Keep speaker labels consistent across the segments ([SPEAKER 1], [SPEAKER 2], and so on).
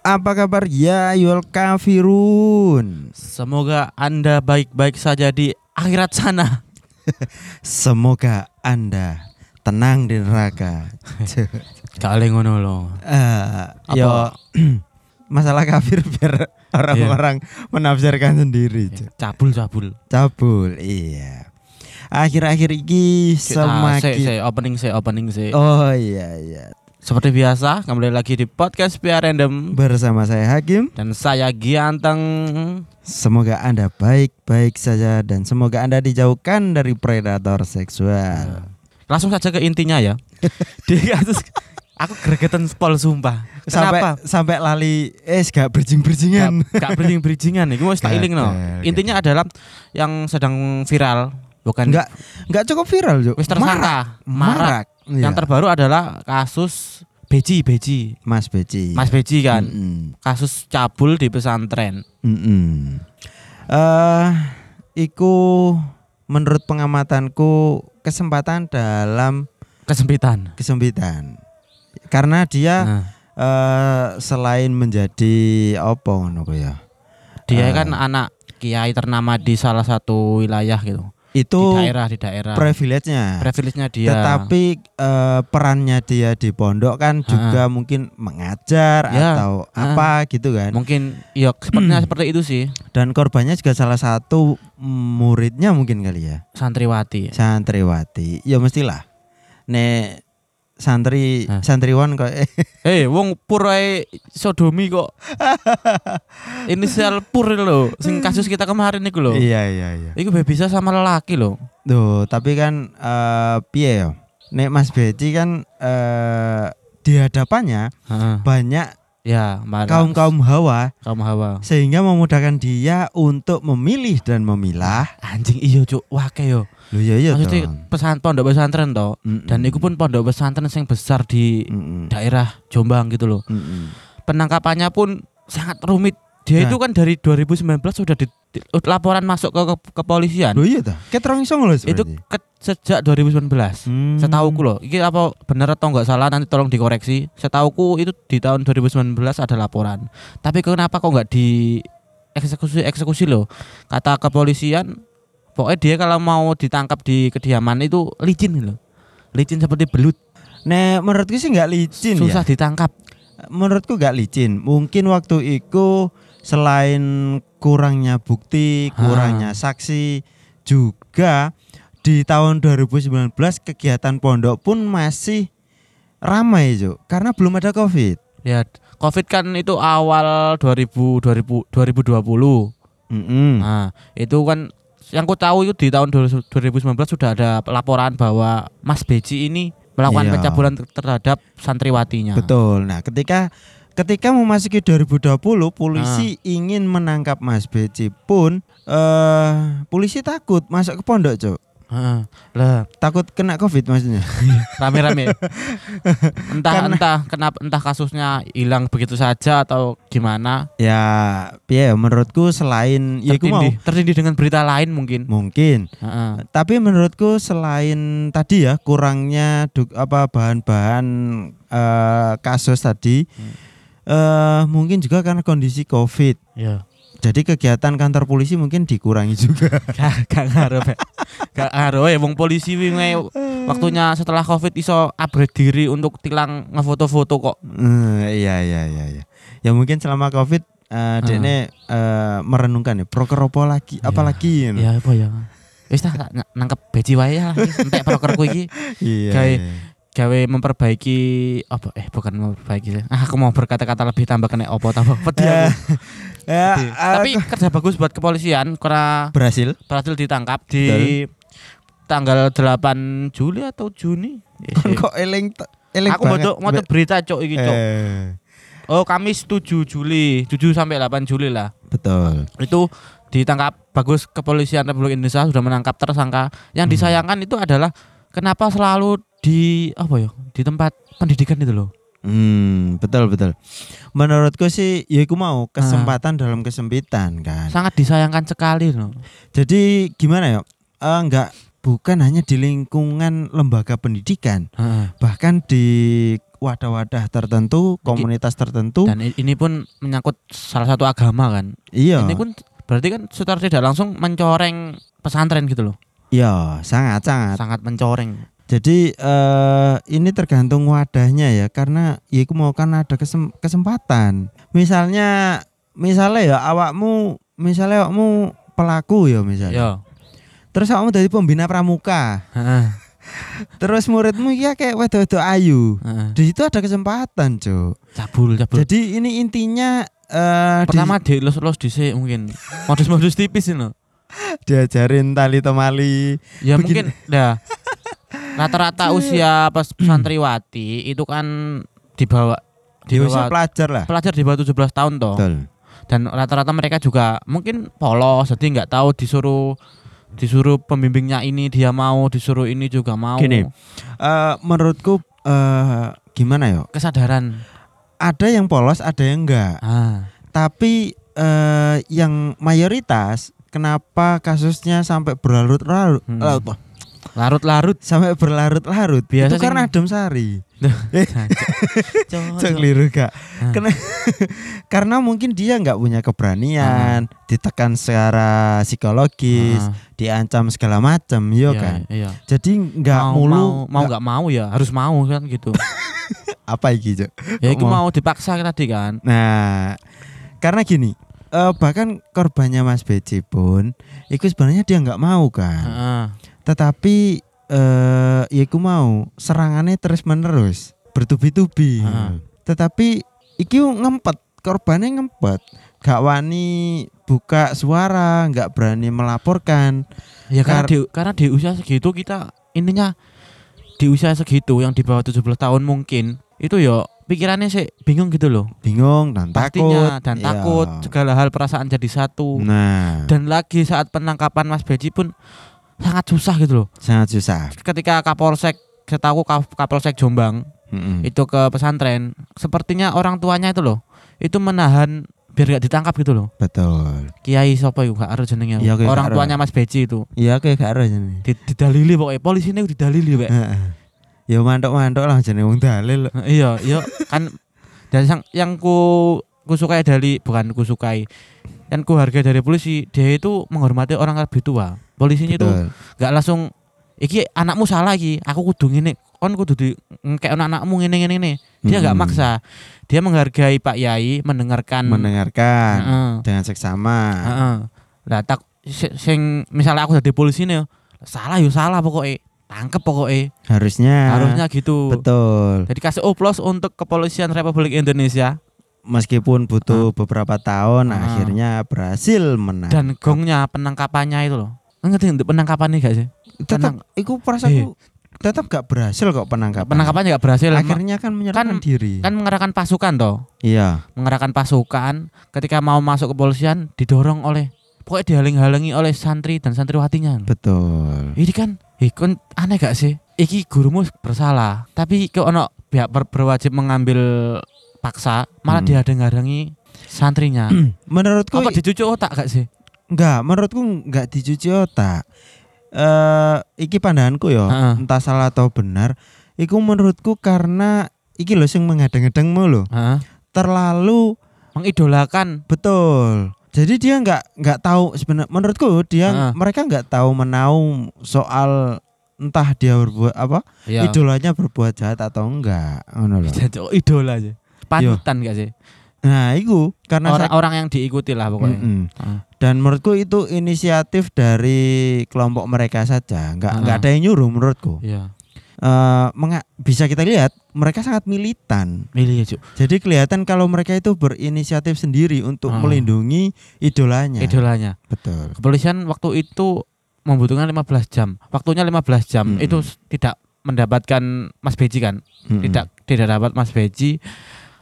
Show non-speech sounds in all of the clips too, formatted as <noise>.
[SPEAKER 1] Apa kabar ya Yul Kafirun?
[SPEAKER 2] Semoga Anda baik-baik saja di akhirat sana.
[SPEAKER 1] Semoga Anda tenang di
[SPEAKER 2] <laughs>
[SPEAKER 1] neraka.
[SPEAKER 2] Kali ngono lo.
[SPEAKER 1] Eh,
[SPEAKER 2] Apa?
[SPEAKER 1] yo <clears throat> masalah kafir biar orang-orang
[SPEAKER 2] Iya.
[SPEAKER 1] menafsirkan sendiri.
[SPEAKER 2] Ya,
[SPEAKER 1] cu.
[SPEAKER 2] Cabul cabul.
[SPEAKER 1] Cabul, iya. Akhir-akhir ini
[SPEAKER 2] nah, Saya
[SPEAKER 1] semakin
[SPEAKER 2] ah, opening saya opening saya.
[SPEAKER 1] Oh iya iya.
[SPEAKER 2] Seperti biasa, kembali lagi di podcast PR Random
[SPEAKER 1] Bersama saya Hakim.
[SPEAKER 2] dan saya Gianteng.
[SPEAKER 1] Semoga Anda baik-baik saja dan semoga Anda dijauhkan dari predator seksual.
[SPEAKER 2] Langsung saja ke intinya
[SPEAKER 1] <laughs>
[SPEAKER 2] ya. di kasus aku gregetan spol sumpah.
[SPEAKER 1] Sampai
[SPEAKER 2] Kenapa?
[SPEAKER 1] sampai lali eh gak berjing-berjingan.
[SPEAKER 2] Gak, gak bridging-bridgingan Iki mau tak iling no.
[SPEAKER 1] Gagal,
[SPEAKER 2] Intinya adalah yang sedang viral bukan
[SPEAKER 1] Enggak enggak cukup viral, Cuk. Iya.
[SPEAKER 2] wis tersangka, marak. Yang
[SPEAKER 1] Yang
[SPEAKER 2] terbaru adalah kasus Beji Beji.
[SPEAKER 1] Mas Beci.
[SPEAKER 2] Mas Beji kan
[SPEAKER 1] Mm-mm.
[SPEAKER 2] kasus cabul di pesantren.
[SPEAKER 1] Mm-mm. Eh, iku menurut pengamatanku kesempatan dalam
[SPEAKER 2] Kesempitan.
[SPEAKER 1] kesempitan. Karena dia
[SPEAKER 2] Nah,
[SPEAKER 1] eh, selain menjadi opo ngono ku ya.
[SPEAKER 2] dia
[SPEAKER 1] Ah.
[SPEAKER 2] kan anak kiai ternama di salah satu wilayah gitu.
[SPEAKER 1] Itu
[SPEAKER 2] di daerah di daerah. iya.
[SPEAKER 1] privilege-nya.
[SPEAKER 2] Privilege-nya dia.
[SPEAKER 1] Tetapi eh, perannya dia di pondok kan juga mungkin mengajar
[SPEAKER 2] Ya.
[SPEAKER 1] atau
[SPEAKER 2] Ha.
[SPEAKER 1] apa gitu kan.
[SPEAKER 2] mungkin ya
[SPEAKER 1] <clears throat>
[SPEAKER 2] sepertinya seperti itu sih
[SPEAKER 1] Dan korbannya juga salah satu muridnya mungkin kali ya.
[SPEAKER 2] santriwati.
[SPEAKER 1] Santriwati. Ya mestilah. Nek santri
[SPEAKER 2] Ha.
[SPEAKER 1] santriwan kok eh,
[SPEAKER 2] Eh, wong pur ae sodomi
[SPEAKER 1] <laughs>
[SPEAKER 2] kok. Inisial pur lho, sing kasus kita kemarin iku lho.
[SPEAKER 1] <laughs> Iya iya iya.
[SPEAKER 2] Iku bisa sama lelaki lho.
[SPEAKER 1] Duh, tapi kan eh piye yo? Nek Mas Beci kan eh di hadapannya
[SPEAKER 2] Heeh.
[SPEAKER 1] banyak
[SPEAKER 2] Ya, marah.
[SPEAKER 1] kaum-kaum hawa
[SPEAKER 2] kaum hawa.
[SPEAKER 1] sehingga memudahkan dia untuk memilih dan memilah.
[SPEAKER 2] Anjing iya cuk, wake yo.
[SPEAKER 1] Loh ya iya
[SPEAKER 2] Maksudnya
[SPEAKER 1] dong.
[SPEAKER 2] pesan pondok pesantren toh.
[SPEAKER 1] Mm-mm.
[SPEAKER 2] dan itu pun pondok pesantren yang besar di
[SPEAKER 1] Mm-mm.
[SPEAKER 2] daerah Jombang gitu loh.
[SPEAKER 1] Mm-mm.
[SPEAKER 2] Penangkapannya pun sangat rumit. Dia
[SPEAKER 1] Nah.
[SPEAKER 2] itu kan dari 2019 sudah di, di- oh, laporan masuk ke, ke- kepolisian.
[SPEAKER 1] Loh iya toh. Ket rong iso ngono
[SPEAKER 2] itu ke- sejak 2019.
[SPEAKER 1] Hmm.
[SPEAKER 2] Setauku loh, ini apa benar atau nggak salah nanti tolong dikoreksi. Setauku itu di tahun 2019 ada laporan. Tapi kenapa kok nggak di eksekusi eksekusi loh? Kata kepolisian, pokoknya dia kalau mau ditangkap di kediaman itu licin gitu loh, licin seperti belut,
[SPEAKER 1] Nek menurutku sih nggak licin
[SPEAKER 2] susah
[SPEAKER 1] ya.
[SPEAKER 2] ditangkap.
[SPEAKER 1] Menurutku nggak licin. Mungkin waktu itu selain kurangnya bukti,
[SPEAKER 2] Ah.
[SPEAKER 1] kurangnya saksi juga di tahun 2019 kegiatan pondok pun masih ramai Cuk. karena belum ada Covid.
[SPEAKER 2] Ya, Covid kan itu awal 2000, 2000 2020.
[SPEAKER 1] Mm-mm.
[SPEAKER 2] Nah, itu kan yang ku tahu itu di tahun 2019 sudah ada laporan bahwa Mas Beji ini melakukan
[SPEAKER 1] Iya.
[SPEAKER 2] pencabulan ter- terhadap santriwatinya.
[SPEAKER 1] Betul. Nah, ketika ketika memasuki 2020, polisi ingin menangkap Mas Beci pun eh polisi takut masuk ke pondok, Cuk.
[SPEAKER 2] Heeh. Lah,
[SPEAKER 1] Takut kena Covid maksudnya. <laughs>
[SPEAKER 2] rame-rame. entah
[SPEAKER 1] Karena-
[SPEAKER 2] entah kenapa entah kasusnya hilang begitu saja atau gimana.
[SPEAKER 1] ya, piye ya, menurutku selain ya iku mau
[SPEAKER 2] Tertindih, tertindih dengan berita lain mungkin.
[SPEAKER 1] mungkin.
[SPEAKER 2] Heeh.
[SPEAKER 1] Tapi menurutku selain tadi ya kurangnya duk- apa bahan-bahan eh, kasus tadi
[SPEAKER 2] Hmm.
[SPEAKER 1] eh mungkin juga karena kondisi Covid.
[SPEAKER 2] Iya.
[SPEAKER 1] Jadi kegiatan kantor polisi mungkin dikurangi juga.
[SPEAKER 2] Gak gak ngaruh. Pak. Gak ngaruh ya wong polisi wingi waktunya setelah Covid iso upgrade diri untuk tilang ngefoto-foto kok.
[SPEAKER 1] Eh, iya iya iya iya. Ya mungkin selama Covid eh
[SPEAKER 2] Ah.
[SPEAKER 1] dekne eh, merenungkan ya proker apa lagi apalagi ya.
[SPEAKER 2] Ya apa ya? Wis tak tak nangkep beji wae ya. Entek prokerku iki
[SPEAKER 1] Iya.
[SPEAKER 2] Kayak-
[SPEAKER 1] iya.
[SPEAKER 2] gawe memperbaiki apa eh bukan memperbaiki sih. Ah, aku mau berkata-kata lebih tambah kena opo tambah pedih aku.
[SPEAKER 1] Eh, ya,
[SPEAKER 2] Pedih. Tapi kerja bagus buat kepolisian karena
[SPEAKER 1] berhasil.
[SPEAKER 2] berhasil ditangkap di tanggal 8 Juli atau Juni. Eh,
[SPEAKER 1] Kon <laughs>
[SPEAKER 2] eh.
[SPEAKER 1] kok eling t- eling
[SPEAKER 2] Aku gitu.
[SPEAKER 1] banget.
[SPEAKER 2] mau mau berita cok iki cok.
[SPEAKER 1] Eh,
[SPEAKER 2] Oh, Kamis 7 Juli, 7 sampai 8 Juli lah.
[SPEAKER 1] betul.
[SPEAKER 2] itu ditangkap bagus kepolisian Republik Indonesia sudah menangkap tersangka yang disayangkan itu adalah kenapa selalu di apa ya di tempat pendidikan itu loh
[SPEAKER 1] Hmm, betul betul. Menurutku sih ya iku mau
[SPEAKER 2] Ah.
[SPEAKER 1] kesempatan dalam kesempitan kan.
[SPEAKER 2] sangat disayangkan sekali loh
[SPEAKER 1] Jadi gimana ya? Eh, enggak bukan hanya di lingkungan lembaga pendidikan, bahkan di wadah-wadah tertentu, komunitas tertentu.
[SPEAKER 2] Dan i- ini pun menyangkut salah satu agama kan.
[SPEAKER 1] Iya.
[SPEAKER 2] Ini pun berarti kan secara tidak langsung mencoreng pesantren gitu loh.
[SPEAKER 1] Iya, sangat-sangat.
[SPEAKER 2] Sangat mencoreng.
[SPEAKER 1] Jadi eh ini tergantung wadahnya ya karena ya iku mau kan ada kesem- kesempatan. Misalnya misalnya ya awakmu misalnya awakmu pelaku ya misalnya.
[SPEAKER 2] Yo.
[SPEAKER 1] Terus awakmu dari pembina pramuka.
[SPEAKER 2] Heeh.
[SPEAKER 1] Terus muridmu ya kayak wedo-wedo ayu.
[SPEAKER 2] heeh.
[SPEAKER 1] Di situ ada kesempatan, Cuk.
[SPEAKER 2] Cabul, cabul.
[SPEAKER 1] Jadi ini intinya eh di-
[SPEAKER 2] Pertama di los los dhisik <laughs> mungkin. Modus-modus tipis ini loh.
[SPEAKER 1] diajarin tali temali. Begini. Iya.
[SPEAKER 2] Ya
[SPEAKER 1] Hmm.
[SPEAKER 2] mungkin dah. Rata-rata usia pes- santriwati itu kan di bawah di
[SPEAKER 1] Di usia
[SPEAKER 2] bawah
[SPEAKER 1] pelajar lah.
[SPEAKER 2] pelajar di bawah 17 tahun toh.
[SPEAKER 1] Betul.
[SPEAKER 2] dan rata-rata mereka juga mungkin polos jadi nggak tahu disuruh disuruh pembimbingnya ini dia mau disuruh ini juga mau
[SPEAKER 1] Gini. Eh, menurutku eh gimana ya?
[SPEAKER 2] kesadaran
[SPEAKER 1] Ada yang polos, ada yang enggak.
[SPEAKER 2] ah
[SPEAKER 1] Tapi eh yang mayoritas kenapa kasusnya sampai berlarut-larut
[SPEAKER 2] Hmm.
[SPEAKER 1] eh, apa?
[SPEAKER 2] larut-larut
[SPEAKER 1] <laughs> sampai berlarut-larut itu
[SPEAKER 2] Biasa sing-
[SPEAKER 1] karena adem sari
[SPEAKER 2] Cok,
[SPEAKER 1] Cok, keliru gak?
[SPEAKER 2] Oh, iya. Ah.
[SPEAKER 1] Kena- <laughs> karena mungkin dia nggak punya keberanian ditekan secara psikologis
[SPEAKER 2] Ah,
[SPEAKER 1] diancam segala macam yo
[SPEAKER 2] iya,
[SPEAKER 1] kan
[SPEAKER 2] iya.
[SPEAKER 1] jadi nggak
[SPEAKER 2] mau,
[SPEAKER 1] mulu
[SPEAKER 2] mau mau nggak mau ya harus mau kan gitu
[SPEAKER 1] apa iki Cok?
[SPEAKER 2] ya itu
[SPEAKER 1] Mau.
[SPEAKER 2] mau dipaksa tadi kan
[SPEAKER 1] Nah, karena gini, eh, bahkan korbannya Mas Beci pun, itu sebenarnya dia nggak mau kan,
[SPEAKER 2] Heeh.
[SPEAKER 1] tetapi eh, ya iku mau serangannya terus menerus bertubi-tubi.
[SPEAKER 2] Heeh.
[SPEAKER 1] Tetapi iki ngempet, korbannya ngempet, gak wani buka suara, nggak berani melaporkan.
[SPEAKER 2] ya
[SPEAKER 1] Kar-
[SPEAKER 2] karena di, karena di usia segitu kita ininya di usia segitu yang di bawah 17 tahun mungkin itu ya pikirannya sih bingung gitu loh
[SPEAKER 1] Bingung dan
[SPEAKER 2] pastinya
[SPEAKER 1] takut
[SPEAKER 2] dan
[SPEAKER 1] Iya.
[SPEAKER 2] takut segala hal perasaan jadi satu
[SPEAKER 1] Nah,
[SPEAKER 2] dan lagi saat penangkapan Mas Beji pun sangat susah gitu loh
[SPEAKER 1] sangat susah.
[SPEAKER 2] ketika Kapolsek setahu Kap- Kapolsek Jombang
[SPEAKER 1] Mm-mm.
[SPEAKER 2] itu ke pesantren sepertinya orang tuanya itu loh itu menahan biar gak ditangkap gitu loh
[SPEAKER 1] Betul.
[SPEAKER 2] Kiai sopo iku gak ero jenenge
[SPEAKER 1] Iya, aku gak
[SPEAKER 2] orang
[SPEAKER 1] ero.
[SPEAKER 2] tuanya Mas Beji itu
[SPEAKER 1] Iya, kayak gak ada ini.
[SPEAKER 2] Di- didalili pokoknya polisi ini didalili wek
[SPEAKER 1] Heeh. Ya mantok-mantok lah jenenge wong dalil.
[SPEAKER 2] iya iya kan dan yang yang ku ku sukai dari bukan ku sukai dan ku hargai dari polisi dia itu menghormati orang lebih tua polisinya itu
[SPEAKER 1] Betul.
[SPEAKER 2] gak langsung iki anakmu salah iki aku kudu ngene kon kudu di ngekek anakmu ngene ngene ngene dia
[SPEAKER 1] Mm-mm.
[SPEAKER 2] nggak maksa dia menghargai Pak Yai mendengarkan
[SPEAKER 1] mendengarkan
[SPEAKER 2] Heeh,
[SPEAKER 1] dengan seksama.
[SPEAKER 2] heeh. Lah, tak si- sing misalnya aku jadi polisi nih salah yo salah pokoknya tangkep pokoknya
[SPEAKER 1] Harusnya.
[SPEAKER 2] harusnya gitu
[SPEAKER 1] Nah, betul.
[SPEAKER 2] jadi kasih oplos untuk kepolisian Republik Indonesia
[SPEAKER 1] Meskipun butuh beberapa tahun
[SPEAKER 2] Ah.
[SPEAKER 1] akhirnya berhasil menang.
[SPEAKER 2] dan gongnya penangkapannya itu loh ngerti untuk penangkapannya gak sih
[SPEAKER 1] tetap iku
[SPEAKER 2] Iya.
[SPEAKER 1] perasaanku tetap gak berhasil kok penangkapan.
[SPEAKER 2] penangkapannya gak berhasil Ma-
[SPEAKER 1] akhirnya kan menyerahkan
[SPEAKER 2] Kan-
[SPEAKER 1] diri.
[SPEAKER 2] kan mengerahkan pasukan toh
[SPEAKER 1] iya.
[SPEAKER 2] mengerahkan pasukan ketika mau masuk kepolisian didorong oleh pokoknya dihalang-halangi oleh santri dan santriwatinya
[SPEAKER 1] Betul. <clears throat>
[SPEAKER 2] ini kan eh, kon aneh gak sih iki gurumu bersalah tapi kok ono pihak ber- berwajib mengambil paksa malah
[SPEAKER 1] Hmm.
[SPEAKER 2] dihadang-hadangi santrinya
[SPEAKER 1] Menurutku
[SPEAKER 2] apa dicucuk otak gak sih
[SPEAKER 1] enggak, menurutku enggak dicuci otak. Eh iki pandanganku ya,
[SPEAKER 2] Heeh.
[SPEAKER 1] entah salah atau benar. Iku menurutku karena iki lho sing mengadeng-adengmu lho.
[SPEAKER 2] Heeh.
[SPEAKER 1] terlalu
[SPEAKER 2] mengidolakan
[SPEAKER 1] betul. Jadi dia nggak nggak tahu sebenarnya menurutku dia
[SPEAKER 2] Heeh.
[SPEAKER 1] mereka nggak tahu menau soal entah dia berbuat apa
[SPEAKER 2] Ya.
[SPEAKER 1] idolanya berbuat jahat atau enggak ngono lho.
[SPEAKER 2] Jancuk, idola aja Iya. panutan gak sih
[SPEAKER 1] Nah, itu karena
[SPEAKER 2] orang,
[SPEAKER 1] saya-
[SPEAKER 2] orang yang diikuti lah pokoknya
[SPEAKER 1] Mm-mm.
[SPEAKER 2] Ah.
[SPEAKER 1] dan menurutku itu inisiatif dari kelompok mereka saja, nggak
[SPEAKER 2] Heeh.
[SPEAKER 1] nggak ada yang nyuruh menurutku.
[SPEAKER 2] iya
[SPEAKER 1] Eh, menga- bisa kita lihat mereka sangat militan.
[SPEAKER 2] milih ya, aja
[SPEAKER 1] Jadi kelihatan kalau mereka itu berinisiatif sendiri untuk
[SPEAKER 2] Ah.
[SPEAKER 1] melindungi
[SPEAKER 2] Iya.
[SPEAKER 1] idolanya.
[SPEAKER 2] idolanya
[SPEAKER 1] Betul.
[SPEAKER 2] kepolisian waktu itu membutuhkan 15 jam. Waktunya 15 jam.
[SPEAKER 1] Mm-mm.
[SPEAKER 2] Itu s- tidak mendapatkan Mas Beji kan?
[SPEAKER 1] Mm-mm.
[SPEAKER 2] Tidak tidak dapat Mas Beji.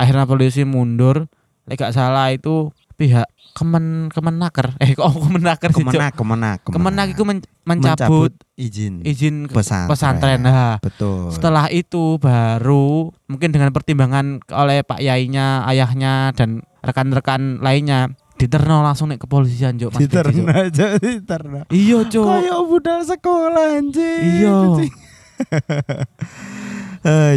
[SPEAKER 2] Akhirnya polisi mundur. Lek gak salah itu pihak Kemen Kemenaker. Eh kok Kemenaker sih, Cok?
[SPEAKER 1] kemenak kemenak
[SPEAKER 2] Kemenak itu men- mencabut,
[SPEAKER 1] izin
[SPEAKER 2] izin ke-
[SPEAKER 1] pesantren,
[SPEAKER 2] pesantren. Nah,
[SPEAKER 1] betul
[SPEAKER 2] setelah itu baru mungkin dengan pertimbangan oleh Pak Yainya, ayahnya dan rekan-rekan lainnya diterno langsung nih kepolisian, Cok, Mas Beji. Cok.
[SPEAKER 1] diterna aja diterna
[SPEAKER 2] Iya, Cok.
[SPEAKER 1] kayak budal sekolah anjing
[SPEAKER 2] Iya.
[SPEAKER 1] Eh,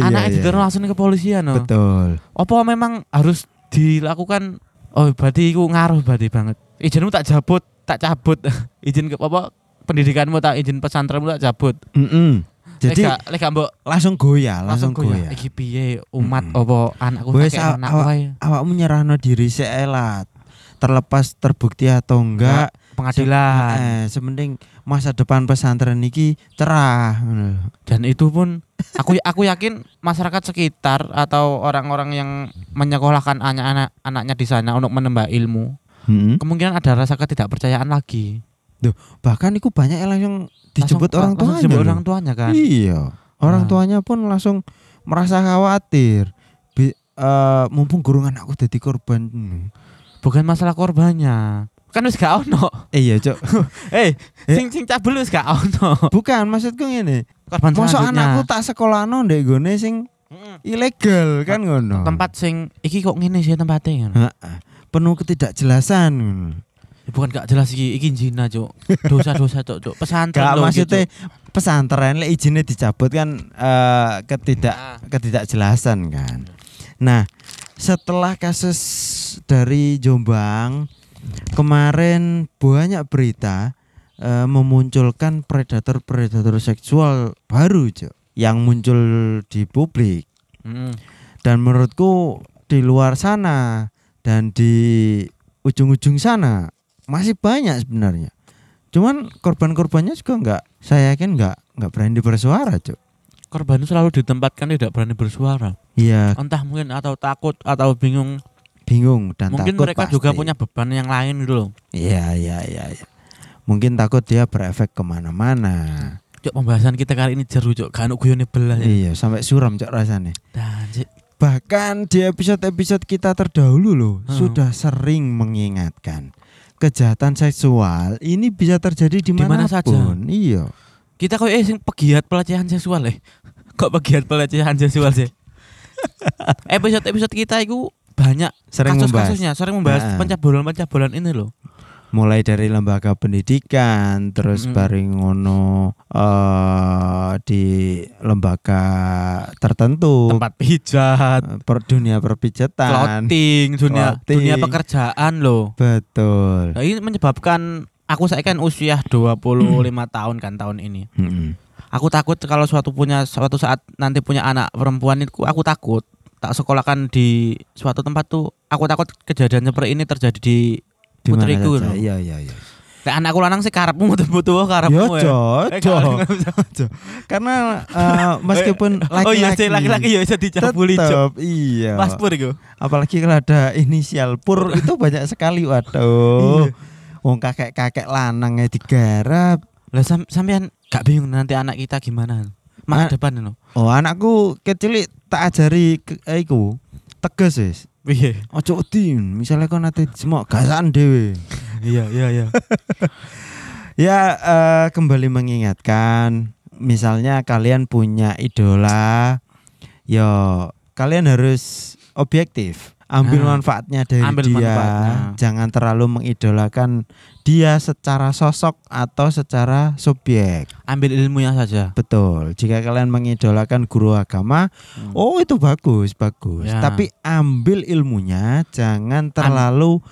[SPEAKER 1] gitu iya,
[SPEAKER 2] anaknya
[SPEAKER 1] iya.
[SPEAKER 2] diteror langsung ke polisian no.
[SPEAKER 1] Betul.
[SPEAKER 2] Apa memang harus dilakukan oh berarti iku ngaruh berarti banget. Izinmu tak jabut, tak cabut. <laughs> izin ke apa pendidikanmu tak izin pesantrenmu tak cabut.
[SPEAKER 1] Mm-mm. Jadi
[SPEAKER 2] lek gak- lek gak mbok
[SPEAKER 1] langsung goyah, langsung,
[SPEAKER 2] langsung
[SPEAKER 1] goyah.
[SPEAKER 2] goyah. Iki piye umat apa anakku
[SPEAKER 1] Wes,
[SPEAKER 2] kakek
[SPEAKER 1] aw-
[SPEAKER 2] anak
[SPEAKER 1] awak-
[SPEAKER 2] wae.
[SPEAKER 1] Awakmu nyerahno diri seelat. Terlepas terbukti atau enggak,
[SPEAKER 2] Pengadilan.
[SPEAKER 1] eh, semending masa depan pesantren iki cerah. ngono lho.
[SPEAKER 2] Dan itu pun aku aku yakin masyarakat sekitar atau orang-orang yang menyekolahkan anak-anak anaknya di sana untuk menembak ilmu
[SPEAKER 1] Mm-mm.
[SPEAKER 2] kemungkinan ada rasa ketidakpercayaan lagi.
[SPEAKER 1] Bahkan iku banyak yang langsung
[SPEAKER 2] Langsung-
[SPEAKER 1] dijemput orang
[SPEAKER 2] langsung
[SPEAKER 1] tuanya.
[SPEAKER 2] dijemput
[SPEAKER 1] lho.
[SPEAKER 2] orang tuanya kan.
[SPEAKER 1] Iya. Orang
[SPEAKER 2] Nah.
[SPEAKER 1] tuanya pun langsung merasa khawatir. Bi- eh, mumpung gurungan aku jadi korban. Hmm.
[SPEAKER 2] Bukan masalah korbannya. Kan wis gak ono.
[SPEAKER 1] Eh, Iya, Cok. Eh.
[SPEAKER 2] Eh, sing sing cabul wis gak ono.
[SPEAKER 1] <laughs> Bukan maksudku ngene.
[SPEAKER 2] Korban
[SPEAKER 1] Masa
[SPEAKER 2] selanjutnya.
[SPEAKER 1] anakku tak sekolahno ndek gone sing
[SPEAKER 2] Mm-mm.
[SPEAKER 1] ilegal kan ngono.
[SPEAKER 2] Nah, tempat sing iki kok ngene sih tempatnya ngono.
[SPEAKER 1] Heeh. penuh ketidakjelasan.
[SPEAKER 2] Ya, Bukan gak jelas iki iki jina, Cuk. Dosa-dosa, Cuk, Cuk. Pesantren
[SPEAKER 1] Gak
[SPEAKER 2] loh,
[SPEAKER 1] maksudnya
[SPEAKER 2] gitu.
[SPEAKER 1] pesantren lek izinnya dicabut kan eh, ketidak
[SPEAKER 2] Ah,
[SPEAKER 1] ketidakjelasan kan. Nah, setelah kasus dari Jombang kemarin banyak berita eh, memunculkan predator-predator seksual baru, Cok, yang muncul di publik
[SPEAKER 2] mm.
[SPEAKER 1] dan menurutku di luar sana dan di ujung-ujung sana masih banyak sebenarnya. Cuman korban-korbannya juga nggak, saya yakin nggak nggak berani bersuara, Cuk.
[SPEAKER 2] Korban itu selalu ditempatkan tidak berani bersuara.
[SPEAKER 1] Iya,
[SPEAKER 2] Entah mungkin atau takut atau bingung.
[SPEAKER 1] bingung dan
[SPEAKER 2] mungkin
[SPEAKER 1] takut
[SPEAKER 2] mereka
[SPEAKER 1] pasti.
[SPEAKER 2] juga punya beban yang lain gitu loh.
[SPEAKER 1] Iya, iya, iya. iya. Mungkin takut dia berefek kemana-mana.
[SPEAKER 2] Cuk, pembahasan kita kali ini jeru, Cuk. Kan guyone belas. ya.
[SPEAKER 1] Iya, sampai suram cok rasanya.
[SPEAKER 2] Dan Cik,
[SPEAKER 1] Bahkan di episode-episode kita terdahulu loh
[SPEAKER 2] Hmm.
[SPEAKER 1] sudah sering mengingatkan kejahatan seksual ini bisa terjadi di mana
[SPEAKER 2] Dimana saja.
[SPEAKER 1] pun. Iya.
[SPEAKER 2] kita kok eh sing pegiat pelecehan seksual eh <laughs> kok pegiat pelecehan seksual
[SPEAKER 1] <laughs>
[SPEAKER 2] sih episode episode kita itu banyak
[SPEAKER 1] Sering membahas
[SPEAKER 2] kasus-kasusnya sering membahas
[SPEAKER 1] Nah.
[SPEAKER 2] pencabulan-pencabulan ini loh
[SPEAKER 1] mulai dari lembaga pendidikan terus
[SPEAKER 2] Mm-mm.
[SPEAKER 1] bareng ngono eh, di lembaga tertentu
[SPEAKER 2] tempat pijat
[SPEAKER 1] eh, per dunia perpijatan.
[SPEAKER 2] clothing dunia
[SPEAKER 1] Clothing.
[SPEAKER 2] dunia pekerjaan loh
[SPEAKER 1] Betul.
[SPEAKER 2] nah, ini menyebabkan aku saya kan usia 25 tahun kan tahun ini
[SPEAKER 1] Mm-mm.
[SPEAKER 2] aku takut kalau suatu punya suatu saat nanti punya anak perempuan itu aku takut tak sekolahkan di suatu tempat tuh aku takut kejadian seperti ini terjadi di
[SPEAKER 1] Di mana
[SPEAKER 2] Putriku
[SPEAKER 1] saja.
[SPEAKER 2] loh.
[SPEAKER 1] Iya, iya, iya.
[SPEAKER 2] Lek anakku lanang sih karepmu butuh-butuh
[SPEAKER 1] Yo,
[SPEAKER 2] karepmu ya.
[SPEAKER 1] Cok,
[SPEAKER 2] Eh,
[SPEAKER 1] Cok.
[SPEAKER 2] kalau-
[SPEAKER 1] Karena
[SPEAKER 2] <laughs>
[SPEAKER 1] eh, meskipun laki-laki
[SPEAKER 2] Oh iya sih laki-laki ya bisa dicabuli cok.
[SPEAKER 1] tetap, iya.
[SPEAKER 2] Paspor iku.
[SPEAKER 1] Apalagi kalau ada inisial pur itu banyak sekali waduh. Wong kakek-kakek lanangnya digarap.
[SPEAKER 2] Lah sam- sampean gak bingung nanti anak kita
[SPEAKER 1] Ah.
[SPEAKER 2] gimana? Masa depan no.
[SPEAKER 1] Oh anakku kecil tak ajari ke, eh, iku tegas wis.
[SPEAKER 2] Piye?
[SPEAKER 1] Ojo udin, misalnya kau nanti semua gasan dewe.
[SPEAKER 2] Iya iya iya.
[SPEAKER 1] Ya eh, kembali mengingatkan, misalnya kalian punya idola, yo kalian harus objektif, ambil
[SPEAKER 2] Nah,
[SPEAKER 1] manfaatnya dari
[SPEAKER 2] ambil
[SPEAKER 1] dia,
[SPEAKER 2] manfaatnya.
[SPEAKER 1] jangan terlalu mengidolakan dia secara sosok atau secara subjek.
[SPEAKER 2] Ambil ilmunya saja.
[SPEAKER 1] Betul. Jika kalian mengidolakan guru agama,
[SPEAKER 2] Hmm.
[SPEAKER 1] oh itu bagus, bagus.
[SPEAKER 2] Ya.
[SPEAKER 1] Tapi ambil ilmunya, jangan terlalu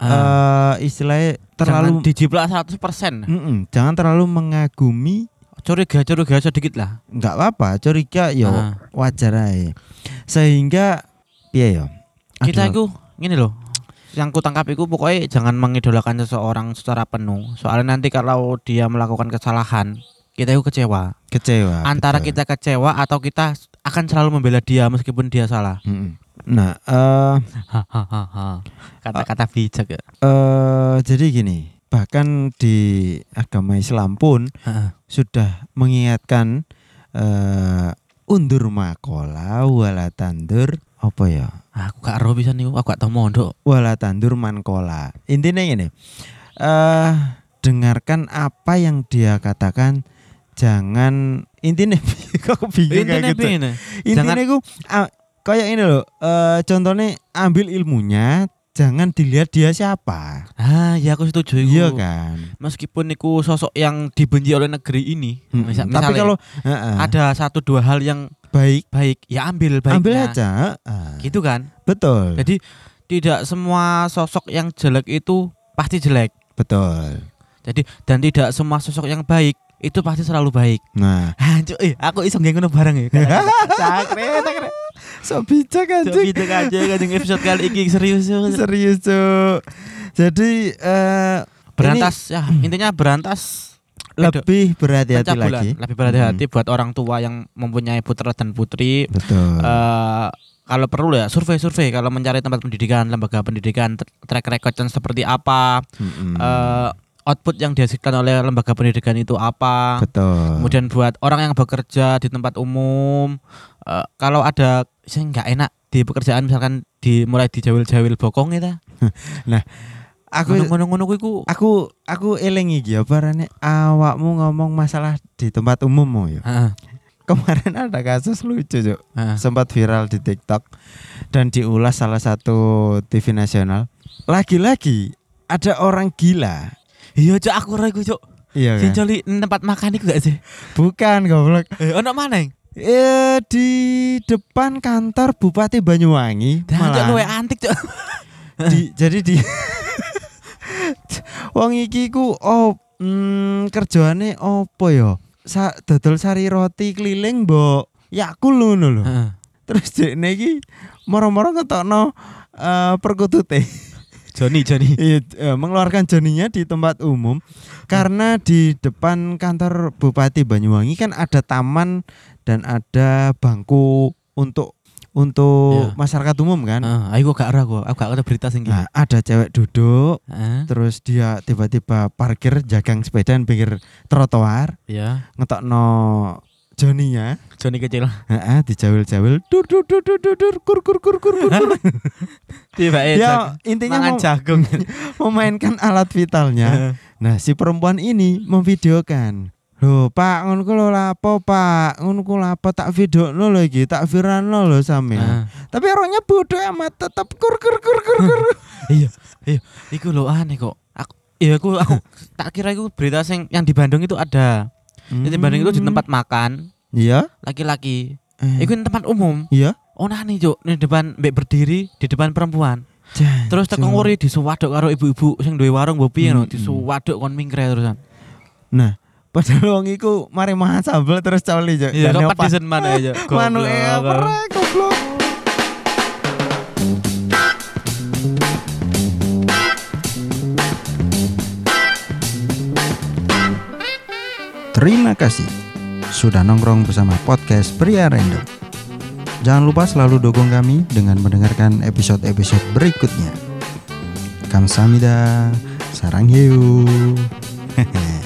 [SPEAKER 2] Ah,
[SPEAKER 1] eh, istilahnya
[SPEAKER 2] terlalu
[SPEAKER 1] terlalu
[SPEAKER 2] dijiplak 100%.
[SPEAKER 1] Mm-mm, jangan terlalu mengagumi
[SPEAKER 2] Curiga-curiga sedikit lah.
[SPEAKER 1] nggak apa-apa curiga ya
[SPEAKER 2] Ah.
[SPEAKER 1] wajar aja sehingga piye ya
[SPEAKER 2] Kita itu gini loh. Yang ku tangkap itu pokoknya jangan mengidolakan seseorang secara penuh. Soalnya nanti kalau dia melakukan kesalahan, kita itu kecewa.
[SPEAKER 1] kecewa
[SPEAKER 2] antara
[SPEAKER 1] Nah, betul.
[SPEAKER 2] kita kecewa atau kita akan selalu membela dia meskipun dia salah.
[SPEAKER 1] Mm-mm. nah eh
[SPEAKER 2] Hahaha. Kata-kata
[SPEAKER 1] Ah.
[SPEAKER 2] bijak ya.
[SPEAKER 1] eh, jadi gini bahkan di agama Islam pun
[SPEAKER 2] Heeh.
[SPEAKER 1] sudah mengingatkan eh undur makola wala tandur apa ya
[SPEAKER 2] Ah, Aku gak ero pisan niku, aku gak tau mondok.
[SPEAKER 1] wala tandur mankola intinya gini eh dengarkan apa yang dia katakan jangan intinya <laughs> kok bingung
[SPEAKER 2] Intine
[SPEAKER 1] kayak gitu
[SPEAKER 2] piye ne?
[SPEAKER 1] intinya ku ah, kayak ini loh eh contohnya ambil ilmunya jangan dilihat dia siapa.
[SPEAKER 2] Ah, ya aku setuju iku.
[SPEAKER 1] Iya kan.
[SPEAKER 2] Meskipun niku sosok yang dibenci oleh negeri ini,
[SPEAKER 1] Mm-mm.
[SPEAKER 2] misa-
[SPEAKER 1] Hmm, Tapi
[SPEAKER 2] misalnya
[SPEAKER 1] kalau heeh,
[SPEAKER 2] ada satu dua hal yang
[SPEAKER 1] baik,
[SPEAKER 2] baik, ya ambil baiknya.
[SPEAKER 1] ambil aja. heeh.
[SPEAKER 2] Gitu kan?
[SPEAKER 1] Betul,
[SPEAKER 2] Jadi tidak semua sosok yang jelek itu pasti jelek.
[SPEAKER 1] betul.
[SPEAKER 2] Jadi dan tidak semua sosok yang baik itu pasti selalu baik. <laughs>
[SPEAKER 1] Nah,
[SPEAKER 2] Hancur, eh aku iso nggae ngono bareng ya.
[SPEAKER 1] <laughs>
[SPEAKER 2] Cakre, cakre.
[SPEAKER 1] so bijak
[SPEAKER 2] Cuk,
[SPEAKER 1] anjing.
[SPEAKER 2] gitu aja kanjeng episode kali ini serius. Cuk.
[SPEAKER 1] Serius, Cuk. Jadi eh
[SPEAKER 2] Berantas ya, intinya berantas Aduh,
[SPEAKER 1] lebih berhati-hati
[SPEAKER 2] pecah bulan.
[SPEAKER 1] lagi. Hmm.
[SPEAKER 2] Lebih berhati-hati buat orang tua yang mempunyai putra dan putri.
[SPEAKER 1] Betul.
[SPEAKER 2] Eh, kalau perlu ya survei-survei kalau mencari tempat pendidikan, lembaga pendidikan, tr- track record yang seperti apa,
[SPEAKER 1] Mm-mm.
[SPEAKER 2] eh, output yang dihasilkan oleh lembaga pendidikan itu apa.
[SPEAKER 1] Betul.
[SPEAKER 2] Kemudian buat orang yang bekerja di tempat umum, eh, kalau ada saya nggak enak di pekerjaan misalkan dimulai dijawil-jawil
[SPEAKER 1] <laughs>
[SPEAKER 2] bokong itu,
[SPEAKER 1] Nah, aku
[SPEAKER 2] ngono-ngono kuwi ku
[SPEAKER 1] aku aku eling iki ya barane awakmu ngomong masalah di tempat umum ya.
[SPEAKER 2] Heeh,
[SPEAKER 1] <laughs> Kemarin ada kasus lucu, Cuk.
[SPEAKER 2] heeh.
[SPEAKER 1] sempat viral di TikTok dan diulas salah satu TV nasional. Lagi-lagi ada orang gila.
[SPEAKER 2] Iya cok aku ora iku cok.
[SPEAKER 1] Iya
[SPEAKER 2] Sing
[SPEAKER 1] kan?
[SPEAKER 2] joli tempat makan iku gak sih?
[SPEAKER 1] Bukan goblok.
[SPEAKER 2] Eh ono maneng.
[SPEAKER 1] Eh di depan kantor Bupati Banyuwangi
[SPEAKER 2] Dah cok
[SPEAKER 1] malahan.
[SPEAKER 2] luwe antik cok.
[SPEAKER 1] Di- jadi di <laughs> Wong iki ku oh mm, kerjaane opo ya? Sa dodol sari roti keliling, Mbok. Ya aku ngono lho.
[SPEAKER 2] Heeh.
[SPEAKER 1] Terus dekne iki moro-moro ngetokno eh perkutute. <laughs>
[SPEAKER 2] Joni Joni.
[SPEAKER 1] Iya, eh, mengeluarkan joninya di tempat umum karena di depan kantor Bupati Banyuwangi kan ada taman dan ada bangku untuk untuk
[SPEAKER 2] Iya.
[SPEAKER 1] masyarakat umum kan.
[SPEAKER 2] Heeh, aku gak ora aku, aku gak ada berita sing iki.
[SPEAKER 1] Nah, ada cewek duduk
[SPEAKER 2] Heeh.
[SPEAKER 1] terus dia tiba-tiba parkir jagang sepeda di pinggir trotoar
[SPEAKER 2] Ya.
[SPEAKER 1] ngetokno joninya
[SPEAKER 2] Joni kecil.
[SPEAKER 1] <laughs> heeh dijawil-jawil dur dur dur dur dur, dur kur kur kur kur kur,
[SPEAKER 2] <laughs>
[SPEAKER 1] kur.
[SPEAKER 2] Tiba
[SPEAKER 1] ya intinya
[SPEAKER 2] mangan
[SPEAKER 1] mau,
[SPEAKER 2] jagung.
[SPEAKER 1] <laughs>
[SPEAKER 2] <laughs> Ah,
[SPEAKER 1] memainkan alat vitalnya Nah, si perempuan ini memvideokan. Loh, Pak, ngono ku lho lapo, Pak? Ngono ku lapo tak videono lho iki, tak viralno lho sampean.
[SPEAKER 2] Heeh.
[SPEAKER 1] Tapi orangnya bodoh amat tetep kur kur kur kur kur.
[SPEAKER 2] Iya, iya. Iku lho aneh kok. Aku Iya aku, aku <laughs> tak kira itu berita sing yang di Bandung itu ada. <laughs> Jadi di Bandung itu di tempat makan
[SPEAKER 1] Iya.
[SPEAKER 2] laki-laki.
[SPEAKER 1] Eh,
[SPEAKER 2] Iku ini tempat umum.
[SPEAKER 1] iya.
[SPEAKER 2] Onani cuk, di depan mbek berdiri di depan perempuan. Terus tekan nguri disuwaduk karo ibu-ibu sing duwe warung bopi ngono,
[SPEAKER 1] Mm-mm.
[SPEAKER 2] disuwaduk kon mingkre terusan.
[SPEAKER 1] Nah, padahal wong iku mari mahan sambel terus coli yo.
[SPEAKER 2] Iya, kok pedisen mana aja.
[SPEAKER 1] Manuke perek e, goblok. Terima kasih sudah nongkrong bersama podcast Pria Random. Jangan lupa selalu dukung kami dengan mendengarkan episode-episode berikutnya. Kamsahamnida, sarang hiu. Hehehe.